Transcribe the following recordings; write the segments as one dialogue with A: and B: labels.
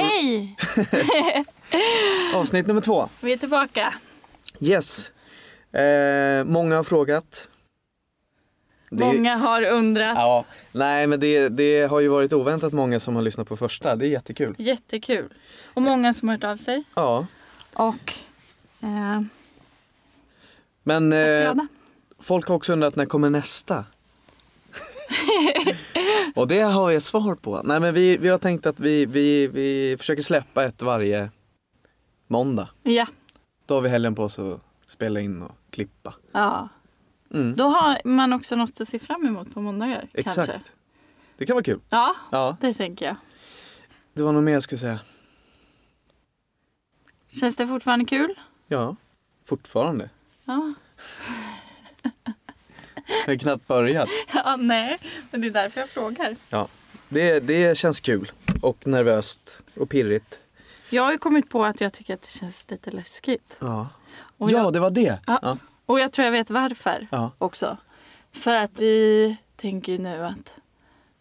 A: Hej!
B: Avsnitt nummer två.
A: Vi är tillbaka.
B: Yes. Eh, många har frågat. Det-
A: Många har undrat.
B: Ja, nej men det, det har ju varit oväntat många som har lyssnat på första. Det är jättekul.
A: Jättekul. Och många som har hört av sig.
B: Ja,
A: Och eh,
B: men eh,
A: glada.
B: folk har också undrat när kommer nästa? Och det har jag svar på. Nej men vi, vi har tänkt att vi, vi, vi försöker släppa ett varje måndag.
A: Ja.
B: Då har vi helgen på oss att spela in och klippa.
A: ja.
B: Mm,
A: Då har man också något att se fram emot på måndagar. Kanske.
B: exakt. Det kan vara kul.
A: Ja,
B: Ja,
A: det tänker jag.
B: det var något mer jag skulle säga.
A: Känns det fortfarande kul?
B: Ja, fortfarande.
A: Ja.
B: Vi har knappt börjat.
A: ja, nej. Men det är därför jag frågar.
B: Det, det känns kul och nervöst och pirrigt.
A: Jag har ju kommit på att jag tycker att det känns lite läskigt.
B: Ja,
A: Och
B: ja
A: jag,
B: det var det.
A: Ja.
B: Ja.
A: och jag tror jag vet varför
B: Ja.
A: också. För att vi tänker ju nu att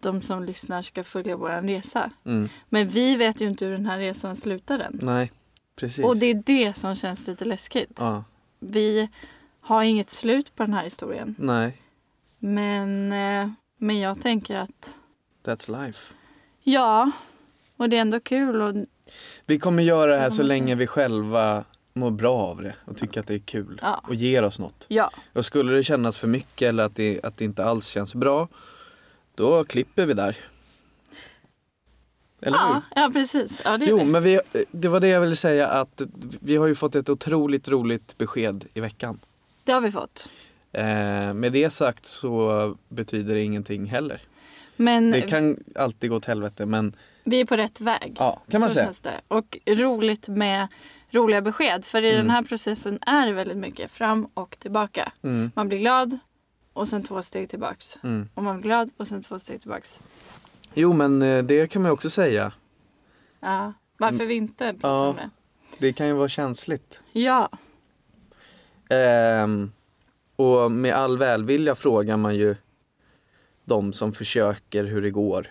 A: de som lyssnar ska följa vår resa.
B: Mm.
A: Men vi vet ju inte hur den här resan slutar än.
B: Nej, precis.
A: Och det är det som känns lite läskigt.
B: Ja,
A: Vi har inget slut på den här historien.
B: nej,
A: Men, eh, men jag tänker att
B: that's life.
A: ja, och det är ändå kul. Och,
B: Vi kommer göra det här
A: Det
B: så
A: kommer
B: länge vi själva mår bra av det och tycker att det är kul
A: Ja.
B: och ger oss något.
A: ja,
B: Och skulle det kännas för mycket eller att det, att det inte alls känns bra, då klipper vi där. Eller hur?
A: ja, ja, precis. Ja, det är
B: Jo,
A: det.
B: men vi, det var det jag ville säga att vi har ju fått ett otroligt roligt besked i veckan.
A: det har vi fått.
B: Eh, med det sagt så betyder det ingenting heller.
A: Men
B: Det kan alltid gå åt helvete men
A: vi är på rätt väg.
B: ja, kan man
A: Så
B: säga.
A: känns det. Och roligt med roliga besked. För i
B: Mm.
A: den här processen är det väldigt mycket fram och tillbaka.
B: Mm,
A: Man blir glad och sen två steg tillbaks.
B: mm.
A: Och man blir glad och sen två steg tillbaks.
B: Jo men eh, det kan man ju också säga.
A: Ja. Varför vi inte pratar
B: Mm. Ja.
A: om det.
B: Det kan ju vara känsligt.
A: Ja,
B: Ehm, och med all välvilja frågar man ju de som försöker hur det går.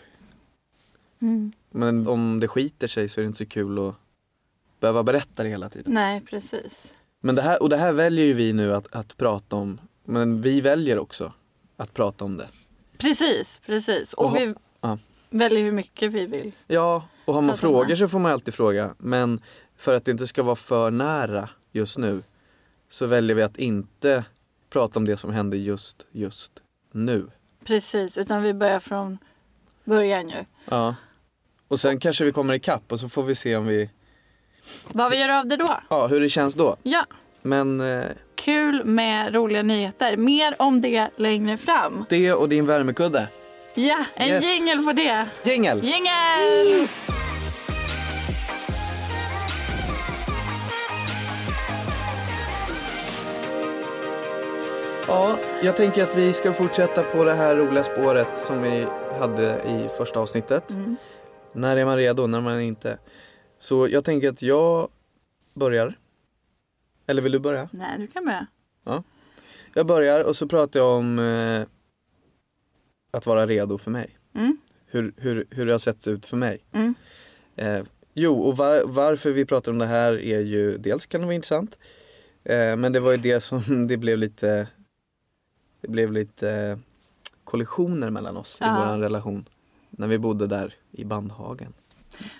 A: Mm.
B: Men om det skiter sig så är det inte så kul att behöva berätta det hela tiden.
A: nej precis.
B: Men det här, och det här väljer ju vi nu att, att prata om. Men vi väljer också att prata om det.
A: Precis, precis. Och
B: Och ha-
A: vi
B: ja.
A: väljer hur mycket vi vill.
B: Ja, och har man
A: Prata om det.
B: frågor så får man alltid fråga. Men för att det inte ska vara för nära just nu så väljer vi att inte prata om det som hände just, just nu.
A: Precis, utan vi börjar från början ju.
B: Ja. Och sen kanske vi kommer ikapp och så får vi se om vi,
A: Vad vi gör av det då?
B: ja hur det känns då.
A: Ja,
B: Men eh,
A: kul med roliga nyheter. Mer om det längre fram.
B: det och din värmekudde.
A: Ja, en
B: Yes.
A: jingel på det.
B: Jingel!
A: Jingel!
B: Ja, jag tänker att vi ska fortsätta på det här roliga spåret som vi hade i första avsnittet.
A: Mm.
B: När är man redo, när man inte? Så jag tänker att jag börjar. Eller vill du börja?
A: Nej, du kan börja.
B: Jag börjar och så pratar jag om eh, att vara redo för mig.
A: Mm.
B: Hur, hur, hur det har sett ut för mig.
A: Mm.
B: Eh, jo, och var, varför vi pratar om det här är ju dels kan det vara intressant. Eh, men det var ju det som det blev lite Det blev lite eh, kollisioner mellan oss i
A: Ja.
B: vår relation. När vi bodde där i Bandhagen.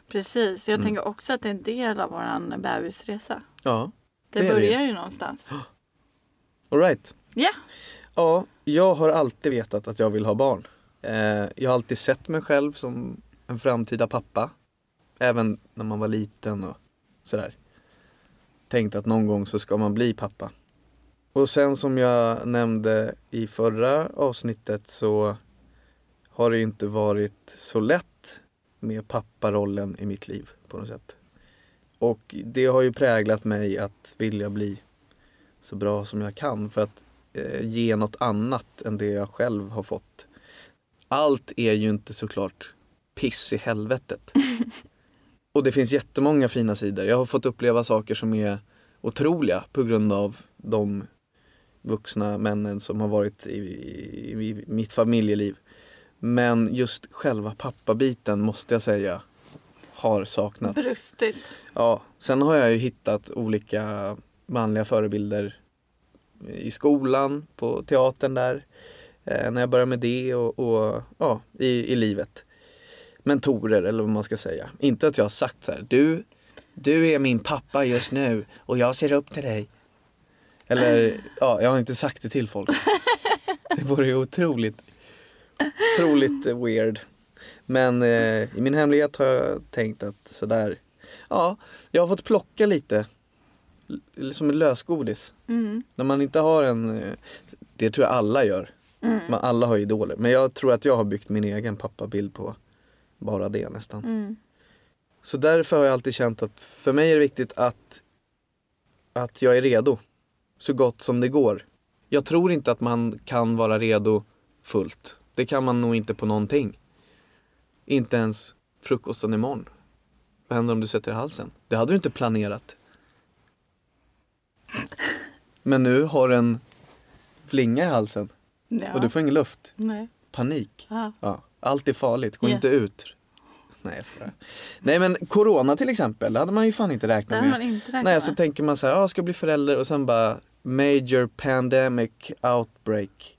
A: Precis, jag
B: Mm.
A: tänker också att det är en del av vår bebisresa.
B: Ja,
A: Det,
B: Det är det ju.
A: börjar ju någonstans.
B: alright.
A: Ja.
B: Ja, jag har alltid vetat att jag vill ha barn. Eh, jag har alltid sett mig själv som en framtida pappa. Även när man var liten och sådär. Tänkt att någon gång så ska man bli pappa. Och sen som jag nämnde i förra avsnittet så har det ju inte varit så lätt med papparollen i mitt liv på något sätt. Och det har ju präglat mig att vilja bli så bra som jag kan för att eh, ge något annat än det jag själv har fått. Allt är ju inte såklart piss i helvetet. Och det finns jättemånga fina sidor. Jag har fått uppleva saker som är otroliga på grund av de vuxna männen som har varit i, i, i mitt familjeliv. Men just själva pappabiten måste jag säga har saknats.
A: Brustigt.
B: Ja, sen har jag ju hittat olika manliga förebilder i skolan, på teatern där, eh, när jag började med det och, och ja, i, i livet. Mentorer eller vad man ska säga. Inte att jag har sagt så här, du, du är min pappa just nu och jag ser upp till dig. Eller, ja, jag har inte sagt det till folk. Det vore ju otroligt, otroligt eh, weird. Men eh, i min hemlighet har jag tänkt att sådär, ja, jag har fått plocka lite, l- som en lösgodis.
A: Mm.
B: När man inte har en, eh, det tror jag alla gör,
A: Mm.
B: man, alla har idoler. Men jag tror att jag har byggt min egen pappabild på bara det nästan.
A: Mm.
B: Så därför har jag alltid känt att för mig är det viktigt att, att jag är redo så gott som det går. Jag tror inte att man kan vara redo fullt. Det kan man nog inte på någonting. Inte ens frukosten imorgon. Vad händer om du sätter i halsen? Det hade du inte planerat. Men nu har den flinga i halsen
A: Ja.
B: och du får ingen luft.
A: Nej.
B: Panik.
A: Ja.
B: Ja, allt är farligt, gå
A: Ja.
B: inte ut. Nej jag skojar. Nej men corona till exempel, det hade man ju fan inte
A: Det
B: räknat
A: hade
B: med.
A: man inte räknat
B: Nej så
A: med.
B: tänker man så här, ah, jag ska bli förälder och sen bara Major pandemic outbreak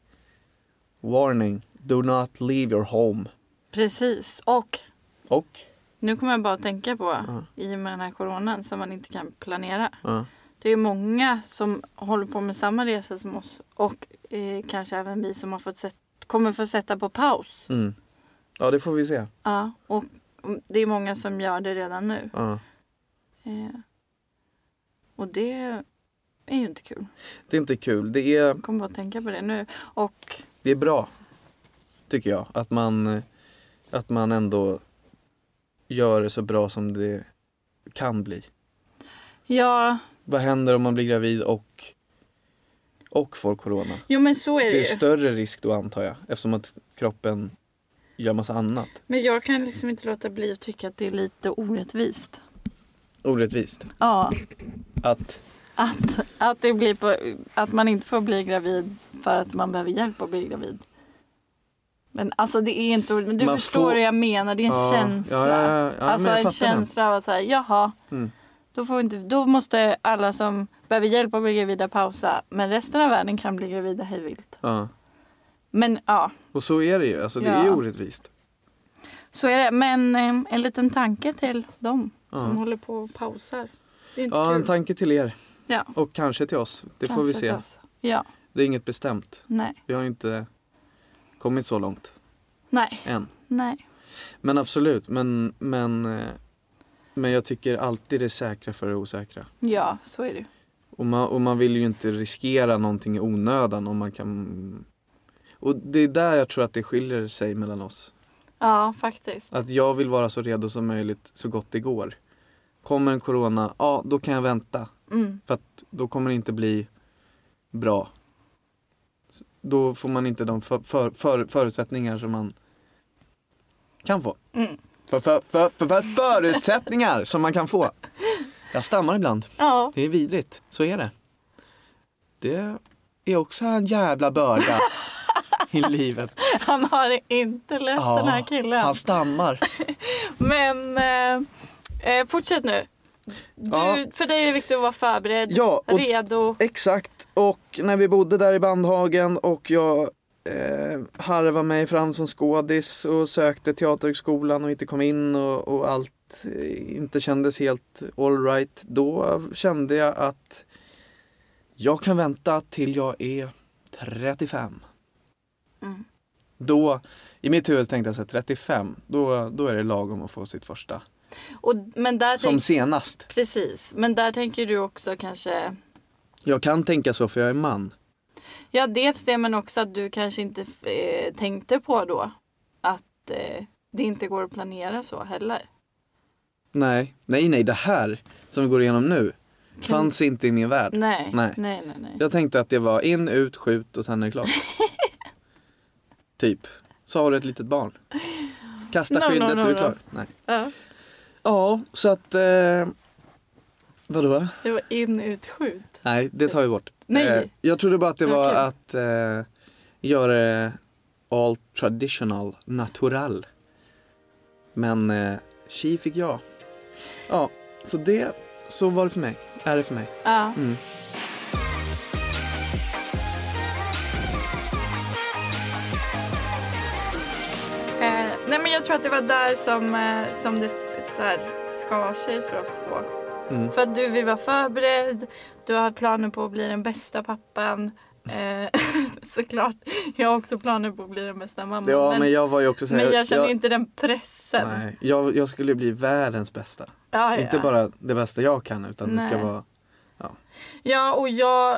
B: Warning, do not leave your home
A: Precis. Och
B: Och?
A: nu kommer jag bara att tänka på,
B: Ja.
A: i och med den här coronan som man inte kan planera.
B: Ja.
A: Det är många som håller på med samma resa som oss och eh, kanske även vi som har fått sätt, kommer få sätta på paus.
B: Mm. ja det får vi se.
A: Ja, och det är många som gör det redan nu.
B: Ja.
A: Eh, och det är ju inte kul.
B: Det är inte kul, det är,
A: Jag kommer bara att tänka på det nu. Och
B: det är bra. Tycker jag, att man, att man ändå gör det så bra som det kan bli.
A: ja,
B: Vad händer om man blir gravid och, och får corona?
A: jo men så är
B: Det
A: det
B: är
A: ju.
B: större risk då antar jag eftersom att kroppen gör massa annat.
A: Men jag kan liksom inte låta bli att tycka att det är lite orättvist.
B: Orättvist.
A: Ja,
B: Att,
A: att, att, det blir på, att man inte får bli gravid för att man behöver hjälp att bli gravid. Men alltså det är inte or- men du
B: Man
A: förstår
B: får-
A: vad jag menar, det är en
B: Ja,
A: känsla.
B: ja, ja, ja, ja, men
A: alltså
B: jag
A: en
B: fattar
A: känsla av att säga, jaha,
B: Mm.
A: då, får inte, då måste alla som behöver hjälp att bli gravida pausa. Men resten av världen kan bli gravida hej vilt.
B: ja.
A: Men ja,
B: Och så är det ju, alltså det
A: Ja.
B: är ju orättvist.
A: så är det. Men eh, en liten tanke till dem
B: Ja.
A: som håller på och pausar. Det är inte
B: ja, en
A: Mm, kul.
B: tanke till er.
A: Ja.
B: Och kanske till oss. Det får
A: Kanske
B: vi
A: till
B: se.
A: oss. Ja,
B: Det är inget bestämt.
A: nej,
B: Vi har ju inte kommit så långt
A: nej,
B: än.
A: nej.
B: Men absolut, men, men, eh, men jag tycker alltid det säkra för det osäkra.
A: Ja, så är det ju.
B: Och man, och man vill ju inte riskera någonting i onödan om man kan... Och det är där jag tror att det skiljer sig mellan oss.
A: Ja, faktiskt.
B: Att jag vill vara så redo som möjligt så gott det går. Kommer en corona, ja då kan jag vänta.
A: Mm.
B: För att då kommer det inte bli bra. Då får man inte de för, för, för, förutsättningar som man kan få.
A: Mm.
B: För, för, för, för, för förutsättningar som man kan få. Jag stammar ibland.
A: Ja.
B: Det är vidrigt, så är det. Det är också en jävla börda i livet.
A: Han har det inte lätt
B: Ja,
A: den här killen.
B: Han stammar.
A: Men eh, eh, fortsätt nu. Du,
B: Ja.
A: För dig är det viktigt att vara förberedd,
B: Ja, och-
A: redo.
B: Exakt, och när vi bodde där i Bandhagen och jag eh, harvade mig fram som skådis och sökte Teaterhögskolan och inte kom in och, och allt eh, inte kändes helt alright. Då kände jag att jag kan vänta till jag är 35.
A: Mm.
B: Då, i mitt huvud tänkte jag så här, 35, då, då är det lagom att få sitt första.
A: Och, men där
B: Som
A: tänk,
B: senast.
A: precis, men där tänker du också kanske,
B: Jag kan tänka så för jag är man.
A: ja dels det men också att du kanske inte eh, tänkte på då att eh, det inte går att planera så heller.
B: Nej, nej, nej, det här som vi går igenom nu
A: Kan-
B: fanns inte i min värld.
A: Nej, nej,
B: Nej.
A: nej, nej. nej.
B: Jag tänkte att det var in, ut, skjut och sen är det klart. typ. Så har du ett litet barn. Kasta
A: No, no,
B: skyddet,
A: no,
B: du är
A: no.
B: klar. Nej.
A: Ja,
B: Ja, så att... Eh... Vadå?
A: det var in, ut, skjut.
B: Nej, det tar vi bort.
A: Nej.
B: Eh, jag trodde bara att det var
A: Okej.
B: att eh, göra det all traditional, natural. Men eh, tji fick jag. Ja, så det, så var det för mig. Är det för mig.
A: Ja.
B: Mm.
A: Eh, nej men jag tror att det var där som, eh, som det s- så här, skar sig för oss två.
B: Mm.
A: För att du vill vara förberedd, du har planer på att bli den bästa pappan. Eh, såklart, jag har också planer på att bli den bästa mamman.
B: Ja, men,
A: men, men,
B: jag var ju också såhär.
A: jag känner inte den pressen.
B: Nej, jag, jag skulle ju bli världens bästa.
A: Ah, Ja,
B: Inte
A: ja.
B: bara det bästa jag kan utan det ska
A: Nej.
B: vara...
A: Ja, och jag...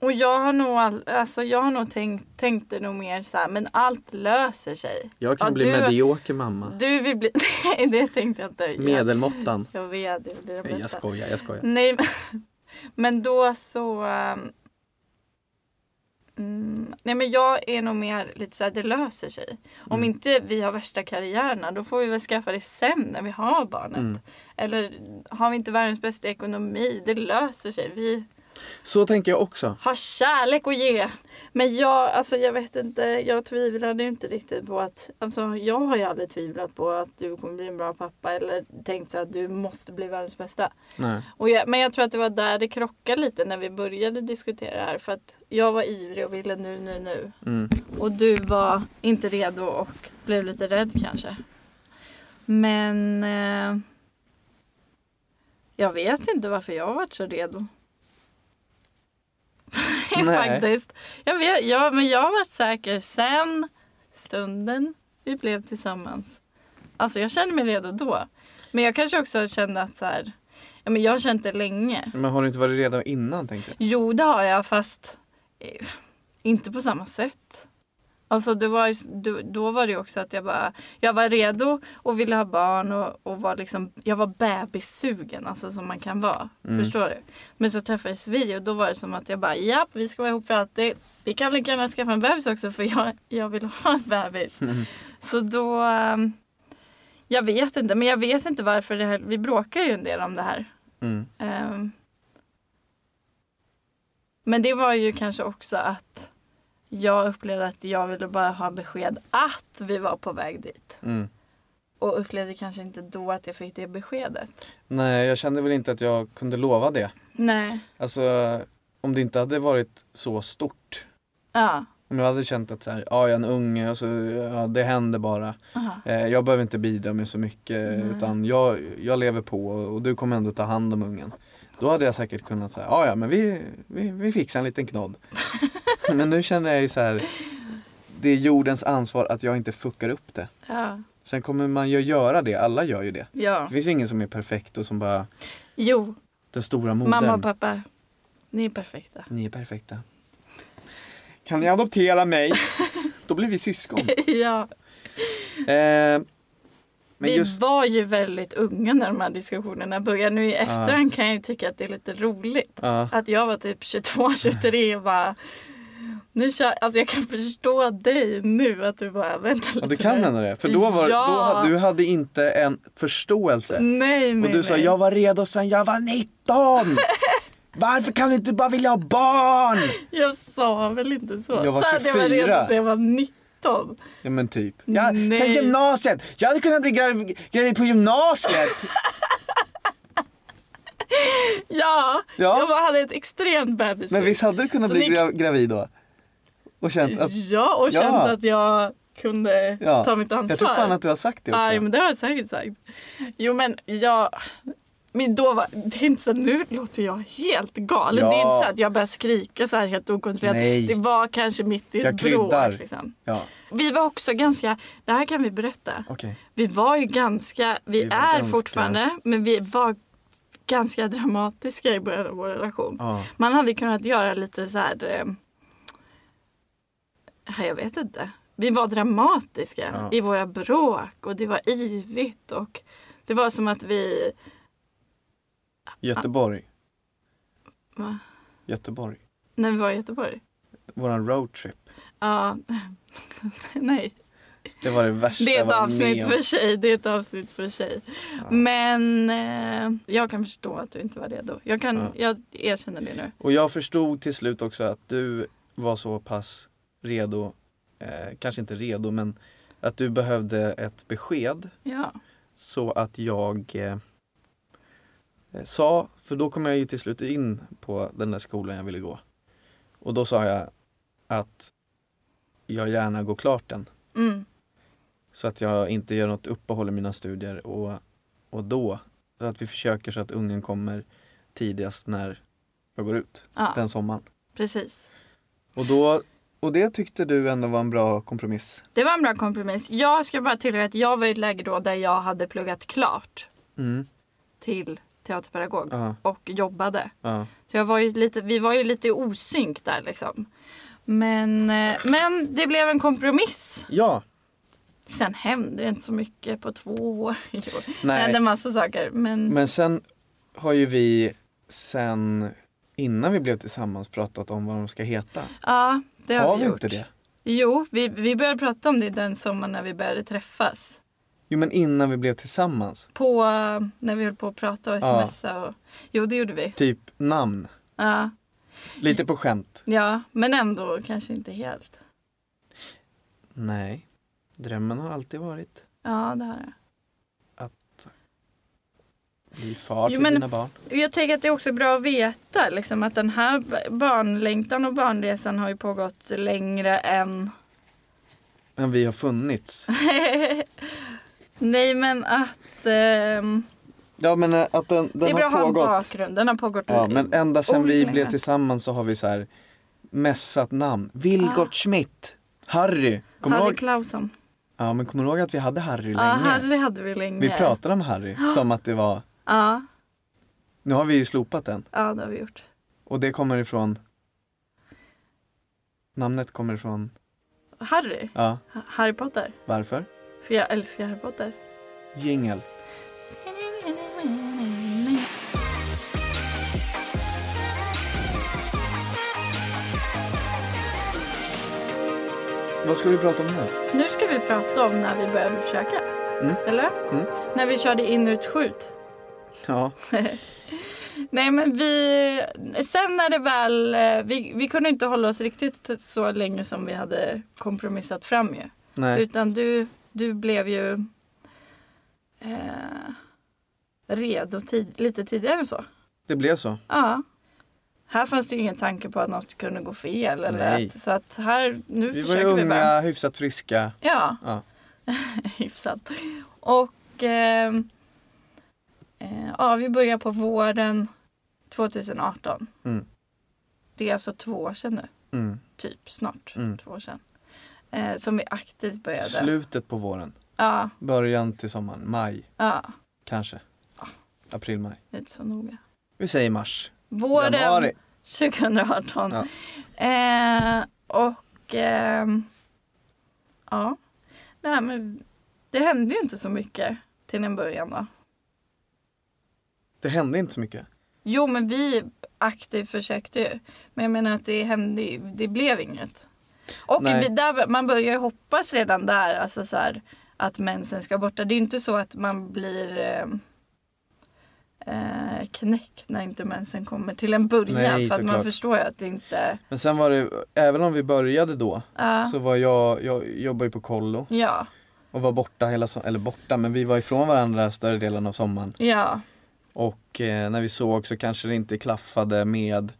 A: Och jag har nog, all, alltså jag har nog tänkt, tänkte nog mer så här, men allt löser sig.
B: Jag kan
A: Ja,
B: bli
A: du-
B: medioker mamma.
A: Du vill bli... Nej, det tänkte jag inte. Jag-
B: Medelmåttan.
A: Jag vet, det blir det
B: Nej, jag
A: bästa.
B: skojar, jag skojar.
A: Nej, men, men då så... ehm, Mm, nej men jag är nog mer lite såhär, det löser sig. Om
B: Mm.
A: inte vi har värsta karriärerna då får vi väl skaffa det sen när vi har barnet.
B: Mm.
A: Eller har vi inte världens bästa ekonomi, det löser sig. Vi
B: Så tänker jag också.
A: har kärlek att ge. Men jag, alltså jag vet inte, jag tvivlade ju inte riktigt på att, alltså jag har ju aldrig tvivlat på att du kommer bli en bra pappa eller tänkt så att du måste bli världens bästa.
B: Nej.
A: Och jag, men jag tror att det var där det krockade lite när vi började diskutera det här för att jag var ivrig och ville nu, nu, nu.
B: Mm.
A: Och du var inte redo och blev lite rädd kanske. Men eh, jag vet inte varför jag varit så redo.
B: Nej.
A: Faktiskt. Jag vet, ja, men jag har varit säker sen stunden vi blev tillsammans. Alltså jag kände mig redo då. Men jag kanske också kände att så här, ja, men jag har känt det länge.
B: Men har du inte varit redo innan tänkte jag?
A: Jo, det har jag, fast eh, inte på samma sätt. Alltså, det var, ju- då- då var det ju också att jag bara, jag var redo och ville ha barn och, och var liksom, jag var bebissugen, alltså som man kan vara.
B: Mm.
A: Förstår du? Men så träffades vi och då var det som att jag bara, ja, vi ska vara ihop för alltid. Vi kan lika gärna skaffa en bebis också för jag, jag vill ha en bebis.
B: Mm.
A: Så då, ehm, jag vet inte, men jag vet inte varför det här, vi bråkar ju en del om det här.
B: Mm.
A: Ehm. Men det var ju kanske också att jag upplevde att jag ville bara ha besked att vi var på väg dit.
B: Mm.
A: Och upplevde kanske inte då att jag fick det beskedet.
B: Nej, jag kände väl inte att jag kunde lova det.
A: Nej.
B: Alltså, om det inte hade varit så stort.
A: Ja.
B: Om jag hade känt att så här, ja, jag är en unge och så, ja, det händer bara.
A: Aha.
B: Eh, jag behöver inte bidra med så mycket
A: Nej.
B: utan jag, jag lever på och du kommer ändå ta hand om ungen. Då hade jag säkert kunnat säga, ja ja men vi, vi, vi fixar en liten knodd. men nu känner jag ju så här, det är jordens ansvar att jag inte fuckar upp det.
A: Ja.
B: Sen kommer man ju göra det, alla gör ju det. Det
A: ja.
B: finns ju ingen som är perfekt och som bara,
A: Jo,
B: den stora
A: mamma
B: modern,
A: och pappa. Ni är perfekta.
B: ni är perfekta. Kan ni adoptera mig? Då blir vi syskon.
A: ja.
B: Eh, men
A: vi
B: just,
A: var ju väldigt unga när de här diskussionerna började. Nu i efterhand kan jag ju tycka att det är lite roligt.
B: ja.
A: Att jag var typ 22, 23 och bara nu kör, alltså jag kan förstå dig nu att du bara vänta lite.
B: Ja, du kan
A: nu."
B: ändå det. För då var
A: Ja.
B: då hade, du hade inte en förståelse.
A: Nej, nej,
B: och du sa
A: nej.
B: jag var redo sen jag var 19! Varför kan du inte bara vilja ha barn?
A: jag sa väl inte så.
B: Jag var
A: Sa att jag var
B: 24.
A: redan så jag var 19.
B: Ja men typ. Jag, sen
A: Nej.
B: gymnasiet! Jag hade kunnat bli gravid gravid på gymnasiet!
A: Ja,
B: Ja.
A: jag bara hade ett extremt bebis.
B: Men visst hade du kunnat
A: Så
B: bli
A: ni-
B: gra- gravid då? Och känt att,
A: Ja, och
B: Ja.
A: känt att jag kunde
B: ja.
A: ta mitt ansvar.
B: Jag tror fan att du har sagt det också.
A: Ja, men det har jag säkert sagt. Jo, men jag... Men då var, det är inte så att nu låter jag helt galen.
B: Ja.
A: Det är inte så att jag börjar skrika så här helt okontrollerat.
B: Nej.
A: Det var kanske mitt i
B: Jag
A: ett
B: kryddar.
A: bråk. Liksom.
B: Ja,
A: Vi var också ganska, det här kan vi berätta.
B: okej.
A: Vi var ju ganska, vi,
B: Vi var
A: är
B: ganska-
A: fortfarande, men vi var ganska dramatiska i början av vår relation.
B: Ja.
A: Man hade kunnat göra lite så här... Eh, ja, jag vet inte. Vi var dramatiska
B: Ja.
A: i våra bråk och det var yvigt och det var som att vi...
B: Göteborg.
A: Va?
B: Göteborg.
A: När vi var i Göteborg?
B: Våran roadtrip.
A: Ja. Nej,
B: Det var det värsta
A: det är
B: jag
A: ett
B: varit
A: avsnitt
B: med om.
A: för sig. Det är ett avsnitt för sig. Men eh, jag kan förstå att du inte var redo. Jag, kan,
B: Ja.
A: jag erkänner det nu.
B: Och jag förstod till slut också att du var så pass redo, eh, kanske inte redo men att du behövde ett besked
A: Ja.
B: så att jag eh, sa, för då kom jag ju till slut in på den där skolan jag ville gå. Och då sa jag att jag gärna går klart den.
A: Mm.
B: Så att jag inte gör något uppehåll i mina studier och, och då. Så att vi försöker så att ungen kommer tidigast när jag går ut
A: Ja,
B: den sommaren.
A: precis.
B: Och, då, och det tyckte du ändå var en bra kompromiss.
A: Det var en bra kompromiss. Jag ska bara tillägga att jag var i ett läge då där jag hade pluggat klart
B: Mm.
A: till teaterpedagog
B: Ja,
A: och jobbade.
B: ja.
A: Så jag var ju lite, vi var ju lite i osynk där liksom. Men, eh, men det blev en kompromiss.
B: ja
A: Sen hände det inte så mycket på två år. Jo, Det
B: nej.
A: hände en massa saker. Men,
B: Men sen har ju vi sen innan vi blev tillsammans pratat om vad de ska heta.
A: ja, det har,
B: har
A: vi
B: vi
A: gjort.
B: inte det?
A: Jo, vi, vi började prata om det den sommaren när vi började träffas.
B: Jo men innan vi blev tillsammans.
A: På, eh, när vi höll på att prata och
B: Ja.
A: smsa och... Jo, det gjorde vi.
B: Typ namn.
A: Ja,
B: Lite på skämt.
A: ja, men ändå kanske inte helt.
B: Nej. Drömmen har alltid varit
A: Ja, det har jag.
B: bli far
A: Jo,
B: till
A: men-
B: dina barn.
A: Jag tänker att det är också bra att veta liksom, att den här b- barnlängtan och barnresan har ju pågått längre än...
B: Men vi har funnits.
A: Nej men att... ehm,
B: Ja men eh, att den,
A: det är
B: den
A: bra att
B: har
A: ha en
B: pågått.
A: bakgrund. Den har pågått
B: Ja
A: l-
B: men ända sen vi
A: Olika
B: blev
A: länge.
B: tillsammans så har vi så här mässat namn. Vilgot Schmidt. Harry. Kommer du
A: Ah. Harry
B: ihåg?
A: Clauson.
B: Ja men kommer du ihåg att vi hade Harry
A: Ja,
B: länge?
A: Harry hade vi länge.
B: Vi pratade om Harry som att det var
A: Ja,
B: Nu har vi ju slopat den.
A: ja, det har vi gjort.
B: Och det kommer ifrån... Namnet kommer ifrån...
A: Harry?
B: Ja,
A: Ha- Harry Potter?
B: varför?
A: För jag älskar Harry Potter.
B: Jingel. Vad ska vi prata om nu?
A: Nu ska vi prata om när vi började försöka.
B: Mm.
A: Eller?
B: Mm.
A: När vi körde in och ut skjut.
B: Ja,
A: Nej men vi, sen när det väl, eh, vi, vi kunde inte hålla oss riktigt så länge som vi hade kompromissat fram ju.
B: nej.
A: Utan du, du blev ju eh, redo tid, lite tidigare än så.
B: Det blev så.
A: Ja. Här fanns det ju ingen tanke på att något kunde gå fel. Eller
B: Nej.
A: att, så att här, nu
B: Vi var ju
A: försöker vi bara.
B: unga, hyfsat friska.
A: Ja.
B: Ja.
A: Hyfsat. Och eh, eh, ja, vi börjar på våren 2018.
B: Mm.
A: Det är alltså två år sedan nu,
B: Mm.
A: typ snart
B: Mm.
A: två år sedan. Eh, som vi aktivt började.
B: Slutet på våren.
A: Ja,
B: Början till sommaren. Maj,
A: ja,
B: kanske. April, maj.
A: det är inte så noga.
B: Vi säger mars.
A: Våren
B: Januari.
A: 2018.
B: Ja.
A: Eh, och ehm, ja, Nej, men det hände ju inte så mycket till en början då.
B: Det hände inte så mycket.
A: Jo men vi aktivt försökte ju. Men jag menar att det hände ju- det blev inget. Och
B: Nej.
A: vi, där, man börjar ju hoppas redan där, alltså så här, att mensen ska borta. Det är ju inte så att man blir eh, eh, knäckt när inte mensen kommer till en början.
B: Nej,
A: för att man
B: såklart.
A: förstår ju att det inte...
B: Men sen var det, även om vi började då,
A: ja,
B: så var jag, jag jobbade ju på kollo
A: ja,
B: och var borta hela, so- eller borta, men vi var ifrån varandra större delen av sommaren.
A: ja,
B: Och eh, när vi såg så kanske det inte klaffade med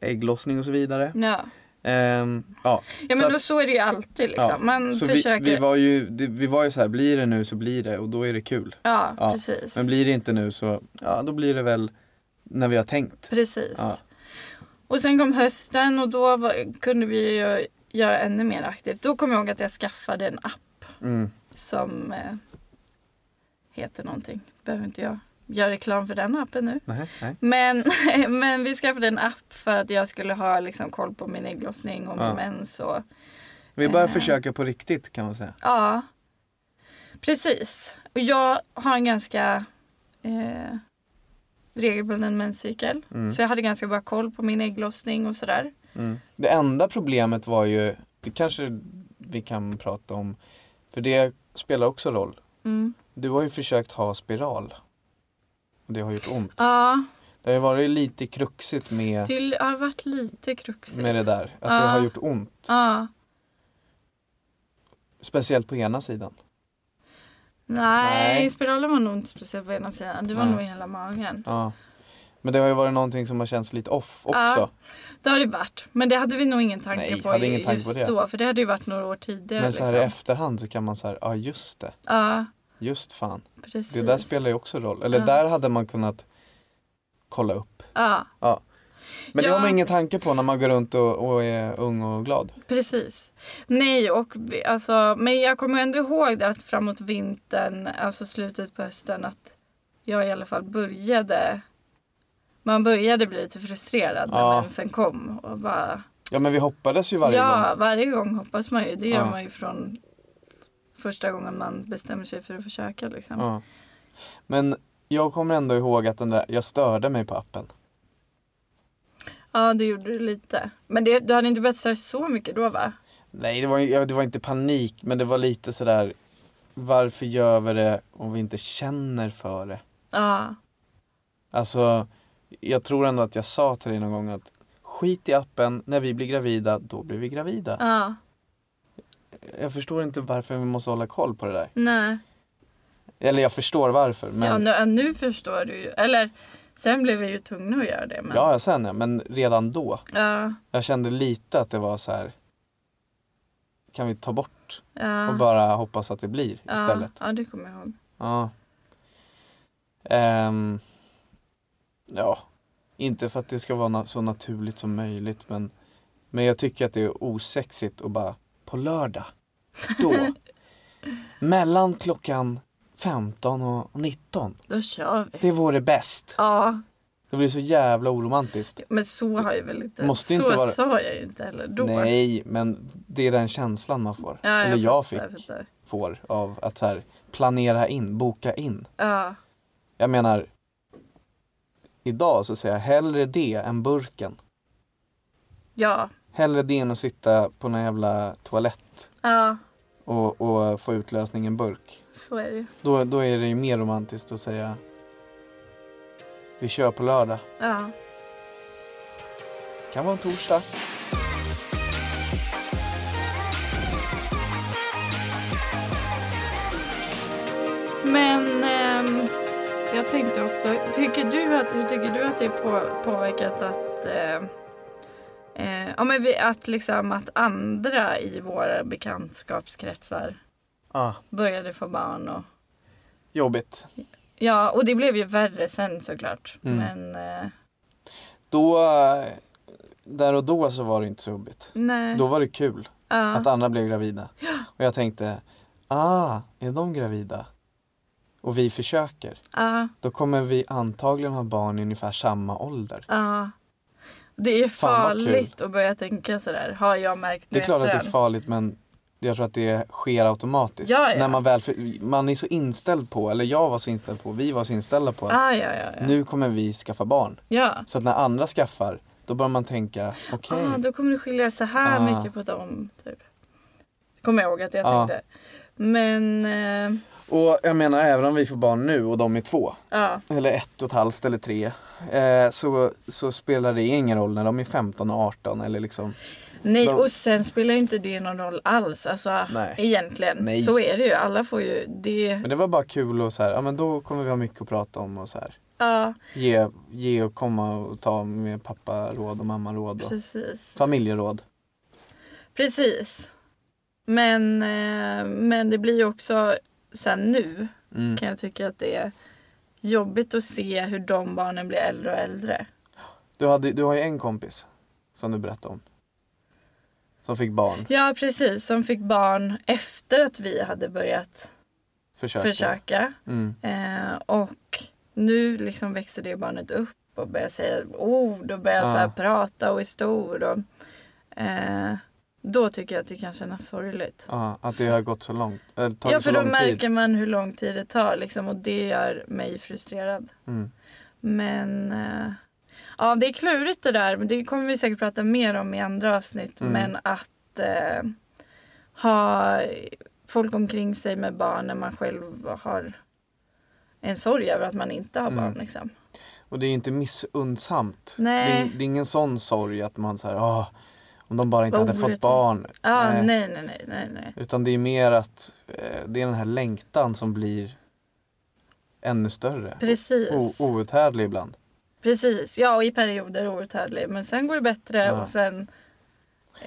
B: ägglossning och så vidare.
A: ja.
B: Ehm, ja.
A: Ja men
B: Så att-
A: då så är det ju alltid liksom.
B: Ja,
A: Man
B: Så vi,
A: försöker...
B: vi var ju, det- vi var ju så här, blir det nu så blir det och då är det kul.
A: ja,
B: ja,
A: precis.
B: Men blir det inte nu så, ja då blir det väl när vi har tänkt.
A: Precis.
B: Ja.
A: Och sen kom hösten och då var, kunde vi ju göra ännu mer aktivt. Då kom jag ihåg att jag skaffade en app
B: Mm.
A: som eh, heter någonting. Behöver inte jag göra reklam för den appen nu.
B: Nej, nej.
A: Men, men vi skaffade en app för att jag skulle ha liksom, koll på min ägglossning och min
B: Ja.
A: mens. Och,
B: Vi bara
A: Eh.
B: försöker på riktigt kan man säga.
A: ja, precis. Och jag har en ganska eh, regelbunden menscykel.
B: Mm.
A: Så jag hade ganska bra koll på min ägglossning och sådär.
B: Mm. Det enda problemet var ju, det kanske vi kan prata om, för det spelar också roll.
A: Mm.
B: Du har ju försökt ha spiral. Och det har gjort ont.
A: Ja,
B: Det har ju varit lite kruxigt med,
A: det har varit lite kruxigt.
B: med det där. Att det
A: Ja.
B: har gjort ont.
A: Ja.
B: Speciellt på ena sidan.
A: Nej,
B: Nej.
A: spiralen var nog inte speciellt på ena sidan. Det var
B: Nej.
A: nog i hela magen.
B: Ja. Men det har ju varit någonting som har känts lite off också.
A: Det har det varit. Men det hade vi nog ingen tanke
B: Nej,
A: på
B: hade
A: ju-
B: ingen tanke
A: just
B: på det.
A: då. För det hade ju varit några år tidigare.
B: Men så här i
A: liksom.
B: efterhand så kan man säga, ja just det,
A: Ja,
B: just fan.
A: precis.
B: Det där spelar ju också roll. Eller
A: Ja.
B: där hade man kunnat kolla upp.
A: Ja,
B: Men det
A: Ja.
B: har man ingen tanke på när man går runt och, och är ung och glad.
A: precis. Nej, och vi, alltså, men jag kommer ändå ihåg det att framåt vintern, alltså slutet på hösten, att jag i alla fall började man började bli lite frustrerad
B: Ja.
A: när mensen kom. Och bara,
B: Ja men vi hoppades ju varje
A: ja,
B: gång.
A: varje gång hoppas man ju. Det gör
B: Ja.
A: man ju från första gången man bestämmer sig för att försöka. Liksom.
B: Ja. Men jag kommer ändå ihåg att den där, jag störde mig på appen.
A: Ja, det gjorde du lite. Men det, du hade inte börjat störa så mycket då va?
B: Nej det var, ja, det var inte panik men det var lite sådär varför gör vi det om vi inte känner för det?
A: Ja,
B: Alltså jag tror ändå att jag sa till dig någon gång att skit i appen, när vi blir gravida då blir vi gravida.
A: ja,
B: Jag förstår inte varför vi måste hålla koll på det där.
A: nej.
B: Eller jag förstår varför
A: Ja,
B: men
A: nu, ja, nu förstår du ju. Eller, sen blev jag ju tvungen att göra det. Men,
B: Ja, ja, sen ja. Men redan då.
A: ja,
B: Jag kände lite att det var så här. Kan vi ta bort
A: ja,
B: och bara hoppas att det blir
A: ja,
B: istället.
A: Ja, det kommer jag ihåg.
B: Ja. Ehm, ja, inte för att det ska vara na- så naturligt som möjligt men, men jag tycker att det är osexigt att bara på lördag, då, mellan klockan 15 och 19,
A: Då kör vi.
B: det vore bäst.
A: Ja,
B: Det blir så jävla oromantiskt.
A: men så har jag väl inte...
B: Måste
A: så
B: inte vara-
A: sa jag ju inte heller då.
B: Nej, men det är den känslan man får.
A: Ja,
B: Eller jag fick,
A: fattar, jag fattar.
B: får av att så här, planera in, boka in.
A: Ja,
B: Jag menar, idag så säger jag hellre det än burken.
A: ja,
B: Hellre det än att sitta på någon jävla toalett
A: ja,
B: och, och få utlösning i en burk.
A: så är det ju.
B: Då, då är det ju mer romantiskt att säga vi kör på lördag.
A: Ja.
B: Det kan vara en torsdag.
A: Men ehm, jag tänkte också, tycker du att, hur tycker du att det på, påverkat att, eh, eh, ja, men vi, att, liksom, att andra i våra bekantskapskretsar
B: Ah,
A: började få barn? Och,
B: jobbigt.
A: ja, och det blev ju värre sen såklart.
B: Mm.
A: Men eh,
B: Då, eh, där och då så var det inte så jobbigt.
A: nej.
B: Då var det kul
A: ja,
B: att andra blev gravida. Och jag tänkte, ah, är de gravida? Och vi försöker.
A: ja,
B: Då kommer vi antagligen ha barn i ungefär samma ålder.
A: ja. Det är
B: Fan, vad
A: farligt att börja tänka sådär, har jag märkt
B: Det är
A: nu
B: klart att det är
A: efterhand.
B: farligt men jag tror att det sker automatiskt.
A: Ja, ja.
B: När man, väl, för man är så inställd på, eller jag var så inställd på, vi var så inställda på att
A: ah, ja, ja, ja.
B: nu kommer vi skaffa barn.
A: ja.
B: Så att när andra skaffar, då börjar man tänka, okej.
A: Ah, då kommer det skilja så här
B: Ah.
A: mycket på dem. Typ. Kommer jag ihåg att jag
B: Ah.
A: tänkte. Men eh,
B: Och jag menar även om vi får barn nu och de är två,
A: ja,
B: eller ett och ett halvt eller tre, eh, så, så spelar det ingen roll när de är 15 och 18 eller liksom.
A: nej
B: De-
A: och sen spelar ju inte det någon roll alls. Alltså
B: Nej.
A: egentligen.
B: Nej.
A: Så är det ju. Alla får ju det.
B: Men det var bara kul och så här, ja men då kommer vi ha mycket att prata om och så här.
A: Ja,
B: ge, ge och komma och ta med pappa råd och mamma råd och
A: precis.
B: familjeråd.
A: Precis. Men, eh, men det blir ju också sen nu
B: Mm.
A: kan jag tycka att det är jobbigt att se hur de barnen blir äldre och äldre.
B: Du, hade, du har ju en kompis som du berättade om. Som fick barn.
A: Ja precis, som fick barn efter att vi hade börjat
B: Försöka.
A: försöka.
B: Mm.
A: Eh, och nu liksom växer det barnet upp och börjar säga ord och börjar
B: Ja.
A: så här prata och är stor. Och, eh, då tycker jag att det kan kännas sorgligt.
B: Ja, att det har gått så långt. Eller tagit
A: Ja,
B: så
A: för då
B: lång
A: märker
B: tid.
A: man hur lång tid det tar liksom, och det gör mig frustrerad.
B: Mm.
A: Men eh, ja, det är klurigt det där. Men det kommer vi säkert prata mer om i andra avsnitt.
B: Mm.
A: Men att eh, ha folk omkring sig med barn när man själv har en sorg över att man inte har
B: Mm.
A: barn. Liksom.
B: Och det är ju inte missundsamt.
A: Nej.
B: Det, är, det är ingen sån sorg att man så här, "Ah, Om de bara inte
A: Vad
B: hade fått
A: orättvist.
B: barn.
A: Ah,
B: Eh,
A: nej, nej, nej, nej, nej.
B: Utan det är mer att eh, det är den här längtan som blir ännu större.
A: Precis.
B: O- outhärdlig ibland.
A: Precis. Ja, och i perioder outhärdlig. Men sen går det bättre
B: Ja.
A: och sen...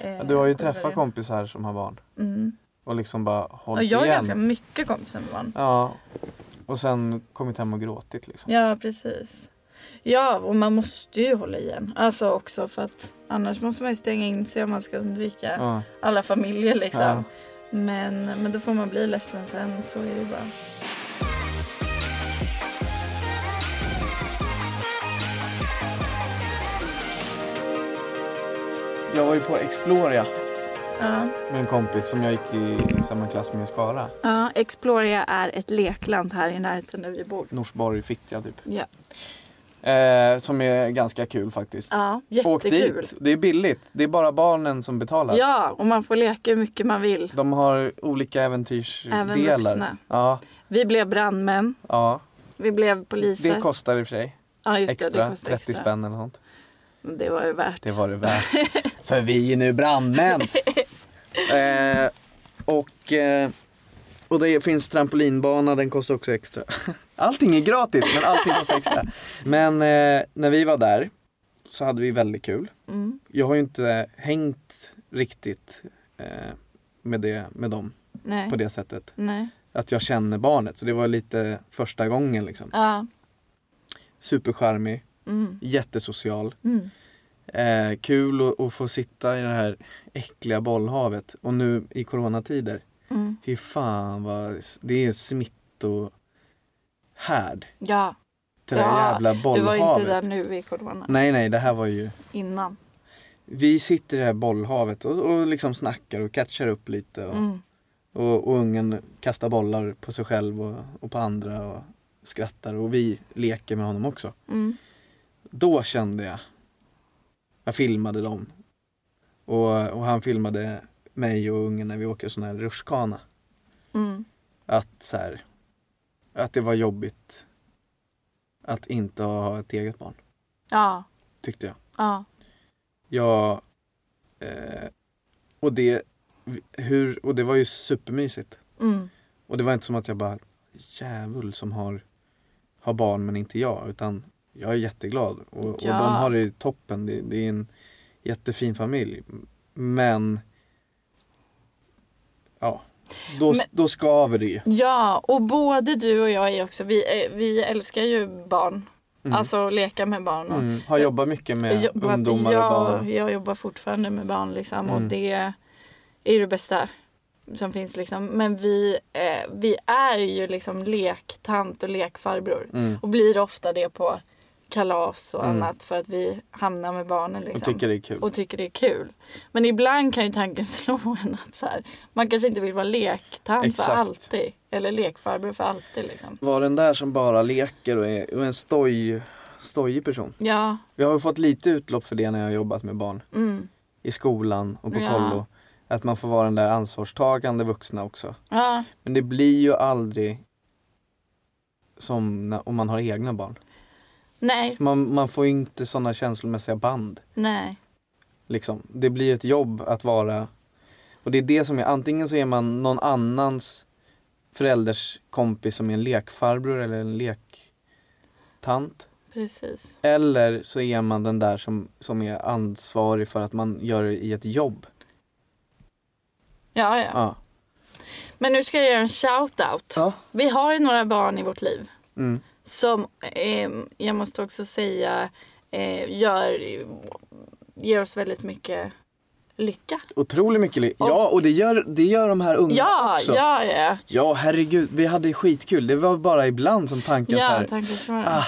A: eh,
B: Du har ju
A: går det
B: träffat
A: bra.
B: kompisar som har barn
A: Mm.
B: och liksom bara hållit
A: Och jag har
B: igen.
A: ganska mycket kompisar med barn.
B: Ja. Och sen kommit hem och gråtit liksom.
A: Ja, precis. Ja, och man måste ju hålla igen. Alltså också för att annars måste man ju stänga in sig om man ska undvika
B: Ja.
A: alla familjer liksom.
B: Ja.
A: Men, men då får man bli ledsen sen, så är det ju bara.
B: Jag var ju på Exploria
A: Ja.
B: med en kompis som jag gick i samma klass med i Skara.
A: Ja, Exploria är ett lekland här i närheten där vi bor.
B: Norsborg, Fittja typ.
A: Ja,
B: Eh, som är ganska kul faktiskt.
A: ja
B: Åk
A: jättekul.
B: dit, det är billigt. Det är bara barnen som betalar.
A: Ja, och man får leka hur mycket man vill.
B: De har olika äventyrsdelar.
A: Även vuxna.
B: Ja,
A: Vi blev brandmän,
B: ja.
A: vi blev poliser.
B: Det kostar i och för sig.
A: ja, just det,
B: Extra,
A: det kostar
B: 30
A: extra.
B: spänn eller sånt.
A: Men Det var det värt.
B: Det var det värt. för vi är nu brandmän. eh, och, eh, och det finns trampolinbana, den kostar också extra. Allting är gratis men allting kostar extra. Men eh, när vi var där så hade vi väldigt kul.
A: Mm.
B: jag har ju inte hängt riktigt eh, med, det, med dem
A: Nej.
B: på det sättet.
A: Nej.
B: Att jag känner barnet. Så det var lite första gången liksom.
A: Ja.
B: Supercharmig,
A: Mm.
B: jättesocial.
A: Mm.
B: Eh, kul att, att få sitta i det här äckliga bollhavet. Och nu i coronatider.
A: Mm.
B: Fy fan vad, det är ju smittohärd.
A: Ja,
B: Till det här
A: Ja,
B: jävla
A: du var
B: bollhavet.
A: ju inte där nu i corona.
B: Nej nej, det här var ju.
A: Innan.
B: Vi sitter i det här bollhavet och, och liksom snackar och catchar upp lite. Och,
A: Mm.
B: Och, och ungen kastar bollar på sig själv och, och på andra och skrattar och vi leker med honom också.
A: Mm.
B: Då kände jag. Jag filmade dem. Och, och han filmade mig och ungen när vi åker sån här rutschkana.
A: Mm.
B: Att så här, Att det var jobbigt. Att inte ha ett eget barn.
A: Ja.
B: Tyckte jag.
A: Ja.
B: Jag. Eh, och det. Hur, och det var ju supermysigt.
A: Mm.
B: Och det var inte som att jag bara, djävul som har, har barn men inte jag. Utan jag är jätteglad. Och,
A: Ja.
B: och de har det ju toppen. Det, det är en jättefin familj. Men, ja. Då,
A: Men-
B: då skaver det ju.
A: Ja, och både du och jag är också, vi, eh, vi älskar ju barn.
B: Mm.
A: Alltså att leka med barn. Och
B: Mm. Har jobbat mycket med
A: jobbat-
B: ungdomar
A: jag,
B: och barn.
A: jag jobbar fortfarande med barn liksom och
B: Mm.
A: det är ju det bästa som finns liksom. Men vi, eh, vi är ju liksom lektant och lekfarbror
B: Mm.
A: och blir ofta det på kalas och
B: Mm.
A: annat för att vi hamnar med barnen liksom.
B: Jag tycker det är kul.
A: och tycker det är kul. Men ibland kan ju tanken slå en att så här, man kanske inte vill vara lektant för
B: Exakt.
A: alltid. Eller lekfarbror för alltid liksom.
B: Var den där som bara leker och är, och är en stoj, stojig person.
A: Ja,
B: Jag har ju fått lite utlopp för det när jag har jobbat med barn.
A: mm.
B: i skolan och på
A: Ja.
B: kollo. Att man får vara den där ansvarstagande vuxna också.
A: ja.
B: Men det blir ju aldrig som när, om man har egna barn.
A: Nej,
B: Man, man får ju inte sådana känslomässiga band.
A: nej.
B: Liksom. Det blir ett jobb att vara... Och det är det som är, antingen så är man någon annans förälders kompis som är en lekfarbror eller en lektant.
A: Precis.
B: Eller så är man den där som, som är ansvarig för att man gör det i ett jobb.
A: Ja, ja.
B: Ja.
A: Men nu ska jag göra en shout-out.
B: Ja.
A: Vi har ju några barn i vårt liv
B: Mm.
A: som eh, jag måste också säga eh, gör, ger oss väldigt mycket lycka.
B: Otroligt mycket li-
A: Och-
B: Ja, och det gör, det gör de här unga
A: Ja,
B: Mm. också.
A: ja, ja.
B: ja, herregud. Vi hade skitkul. Det var bara ibland som tanken så
A: Ja,
B: här.
A: tack för det.
B: Ah,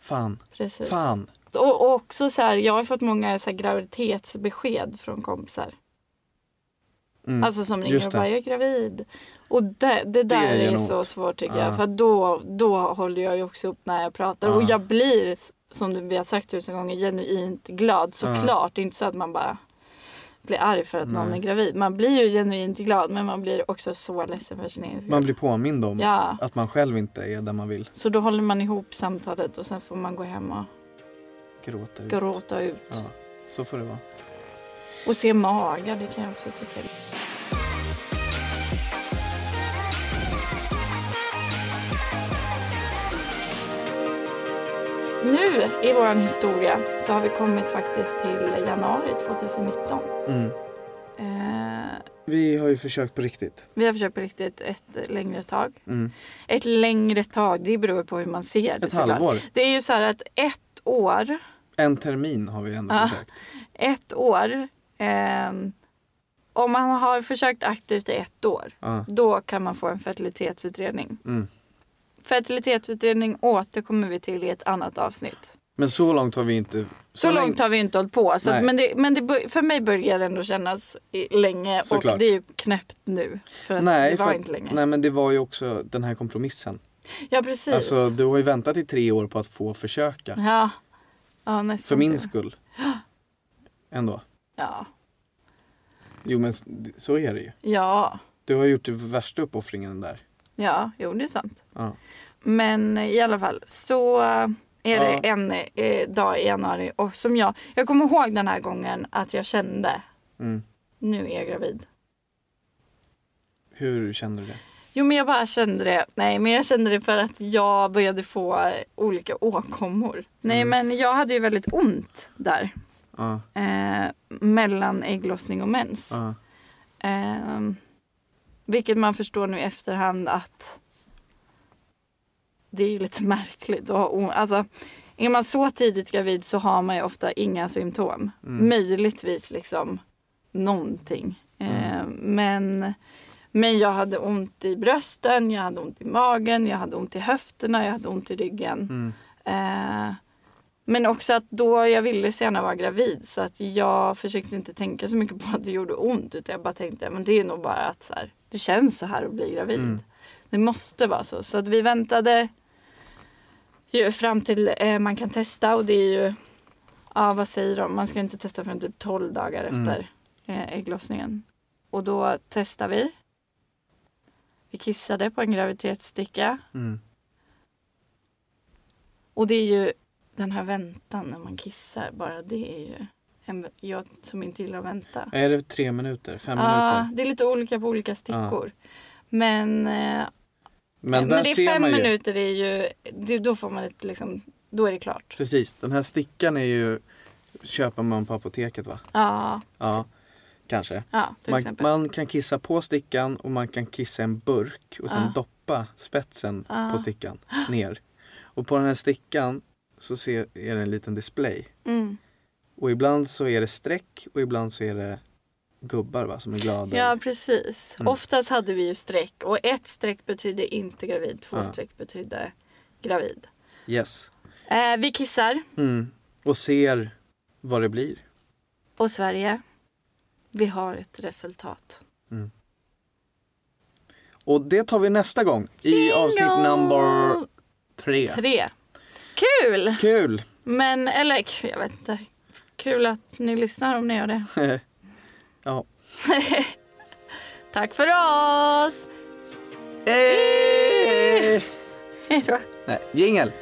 B: fan,
A: Precis.
B: fan.
A: Och, och också så här, jag har fått många så här, graviditetsbesked från kompisar.
B: Mm.
A: Alltså som ringer
B: just
A: och
B: det.
A: bara, jag är gravid. Och det, det där
B: är ju
A: är,
B: något.
A: så svårt tycker
B: Ja.
A: jag. För då, då håller jag ju också upp när jag pratar. Och
B: Ja.
A: jag blir, som vi har sagt tusen gånger, genuint glad såklart. Det är inte så att man bara blir arg för att någon
B: Nej.
A: är gravid. Man blir ju genuint glad men man blir också så ledsen för sin egen skull.
B: Man blir påmind om
A: Ja,
B: att man själv inte är där man vill.
A: så då håller man ihop samtalet och sen får man gå hem och
B: Gråta ut.
A: gråta ut.
B: Ja, så får det vara.
A: Och se magar, det kan jag också tycka. är- Nu i vår historia så har vi kommit faktiskt till januari 2019.
B: Mm.
A: Eh,
B: Vi har ju försökt på riktigt.
A: vi har försökt på riktigt ett längre tag.
B: Mm.
A: Ett längre tag, det beror på hur man ser det
B: Ett halvår.
A: Det är ju så här att ett år,
B: En termin har vi ändå
A: Ja.
B: försökt.
A: ett år, ehm, om man har försökt aktivt i ett år,
B: Ja.
A: då kan man få en fertilitetsutredning.
B: Mm.
A: Fertilitetsutredning återkommer vi till i ett annat avsnitt.
B: Men så långt har vi inte...
A: Så långt har vi inte hållit på. Så att,
B: Nej.
A: men det, men det, bör- för mig börjar det ändå kännas i- länge och
B: Såklart.
A: det är ju knäppt nu. För att
B: Nej,
A: det var
B: för att-
A: inte länge.
B: Nej men det var ju också den här kompromissen.
A: Ja precis.
B: Alltså du har ju väntat i tre år på att få försöka.
A: ja. Ja, nästan.
B: För min
A: det.
B: skull. Ändå.
A: Ja.
B: Jo men s- det- så är det ju.
A: Ja.
B: Du har gjort den värsta uppoffringen där.
A: Ja, jo det är sant.
B: Ja.
A: Men eh, i alla fall så eh, är det
B: Ja.
A: en eh, dag i januari och som jag, jag kommer ihåg den här gången att jag kände
B: Mm.
A: nu är jag gravid.
B: Hur känner du det?
A: Jo men jag bara kände det, nej men jag kände det för att jag började få olika åkommor. Nej
B: Mm.
A: men jag hade ju väldigt ont där
B: Ja.
A: eh, mellan ägglossning och mens.
B: Ja.
A: Eh, vilket man förstår nu i efterhand att det är ju lite märkligt. Att ha o- alltså, är man så tidigt gravid så har man ju ofta inga symptom.
B: Mm.
A: Möjligtvis liksom någonting. Eh,
B: Mm.
A: men, men jag hade ont i brösten, jag hade ont i magen, jag hade ont i höfterna, jag hade ont i ryggen.
B: Mm.
A: Eh, men också att då jag ville så gärna vara gravid så att jag försökte inte tänka så mycket på att det gjorde ont utan jag bara tänkte men det är nog bara att så här, det känns så här att bli gravid.
B: Mm.
A: Det måste vara så. Så att vi väntade ju fram till eh, man kan testa och det är ju ja vad säger de man ska inte testa förrän typ 12 dagar
B: Mm.
A: efter eh, ägglossningen. Och då testar vi. Vi kissade på en graviditetssticka.
B: Mm.
A: Och det är ju den här väntan när man kissar, bara det är ju en, jag som inte gillar att vänta.
B: Är det tre minuter? Fem
A: Ja,
B: minuter?
A: det är lite olika på olika stickor. Men, eh, men,
B: där
A: det är
B: ser
A: fem
B: man ju.
A: minuter är ju, det, då får man ett liksom, då är det klart.
B: Precis, den här stickan är ju köper man på apoteket va?
A: Ja,
B: Ja, kanske.
A: ja till
B: Man,
A: exempel.
B: man kan kissa på stickan och man kan kissa i en burk och sen
A: Ja.
B: doppa spetsen
A: Ja.
B: på stickan ner. Och på den här stickan så ser, är det en liten display.
A: Mm.
B: Och ibland så är det streck och ibland så är det gubbar va, som är glada.
A: Ja precis.
B: Mm.
A: Oftast hade vi ju streck och ett streck betydde inte gravid, två
B: Ja.
A: streck betydde gravid.
B: Yes.
A: Eh, vi kissar
B: Mm. Och ser vad det blir.
A: och Sverige, vi har ett resultat.
B: Och det tar vi nästa gång i avsnitt number tre.
A: tre. Kul!
B: Kul!
A: Men, eller k- jag vet inte. Kul att ni lyssnar om ni gör det.
B: Eh! ja.
A: Tack för oss! Eh!
B: Hey!
A: Hej då!
B: Nej, jingel!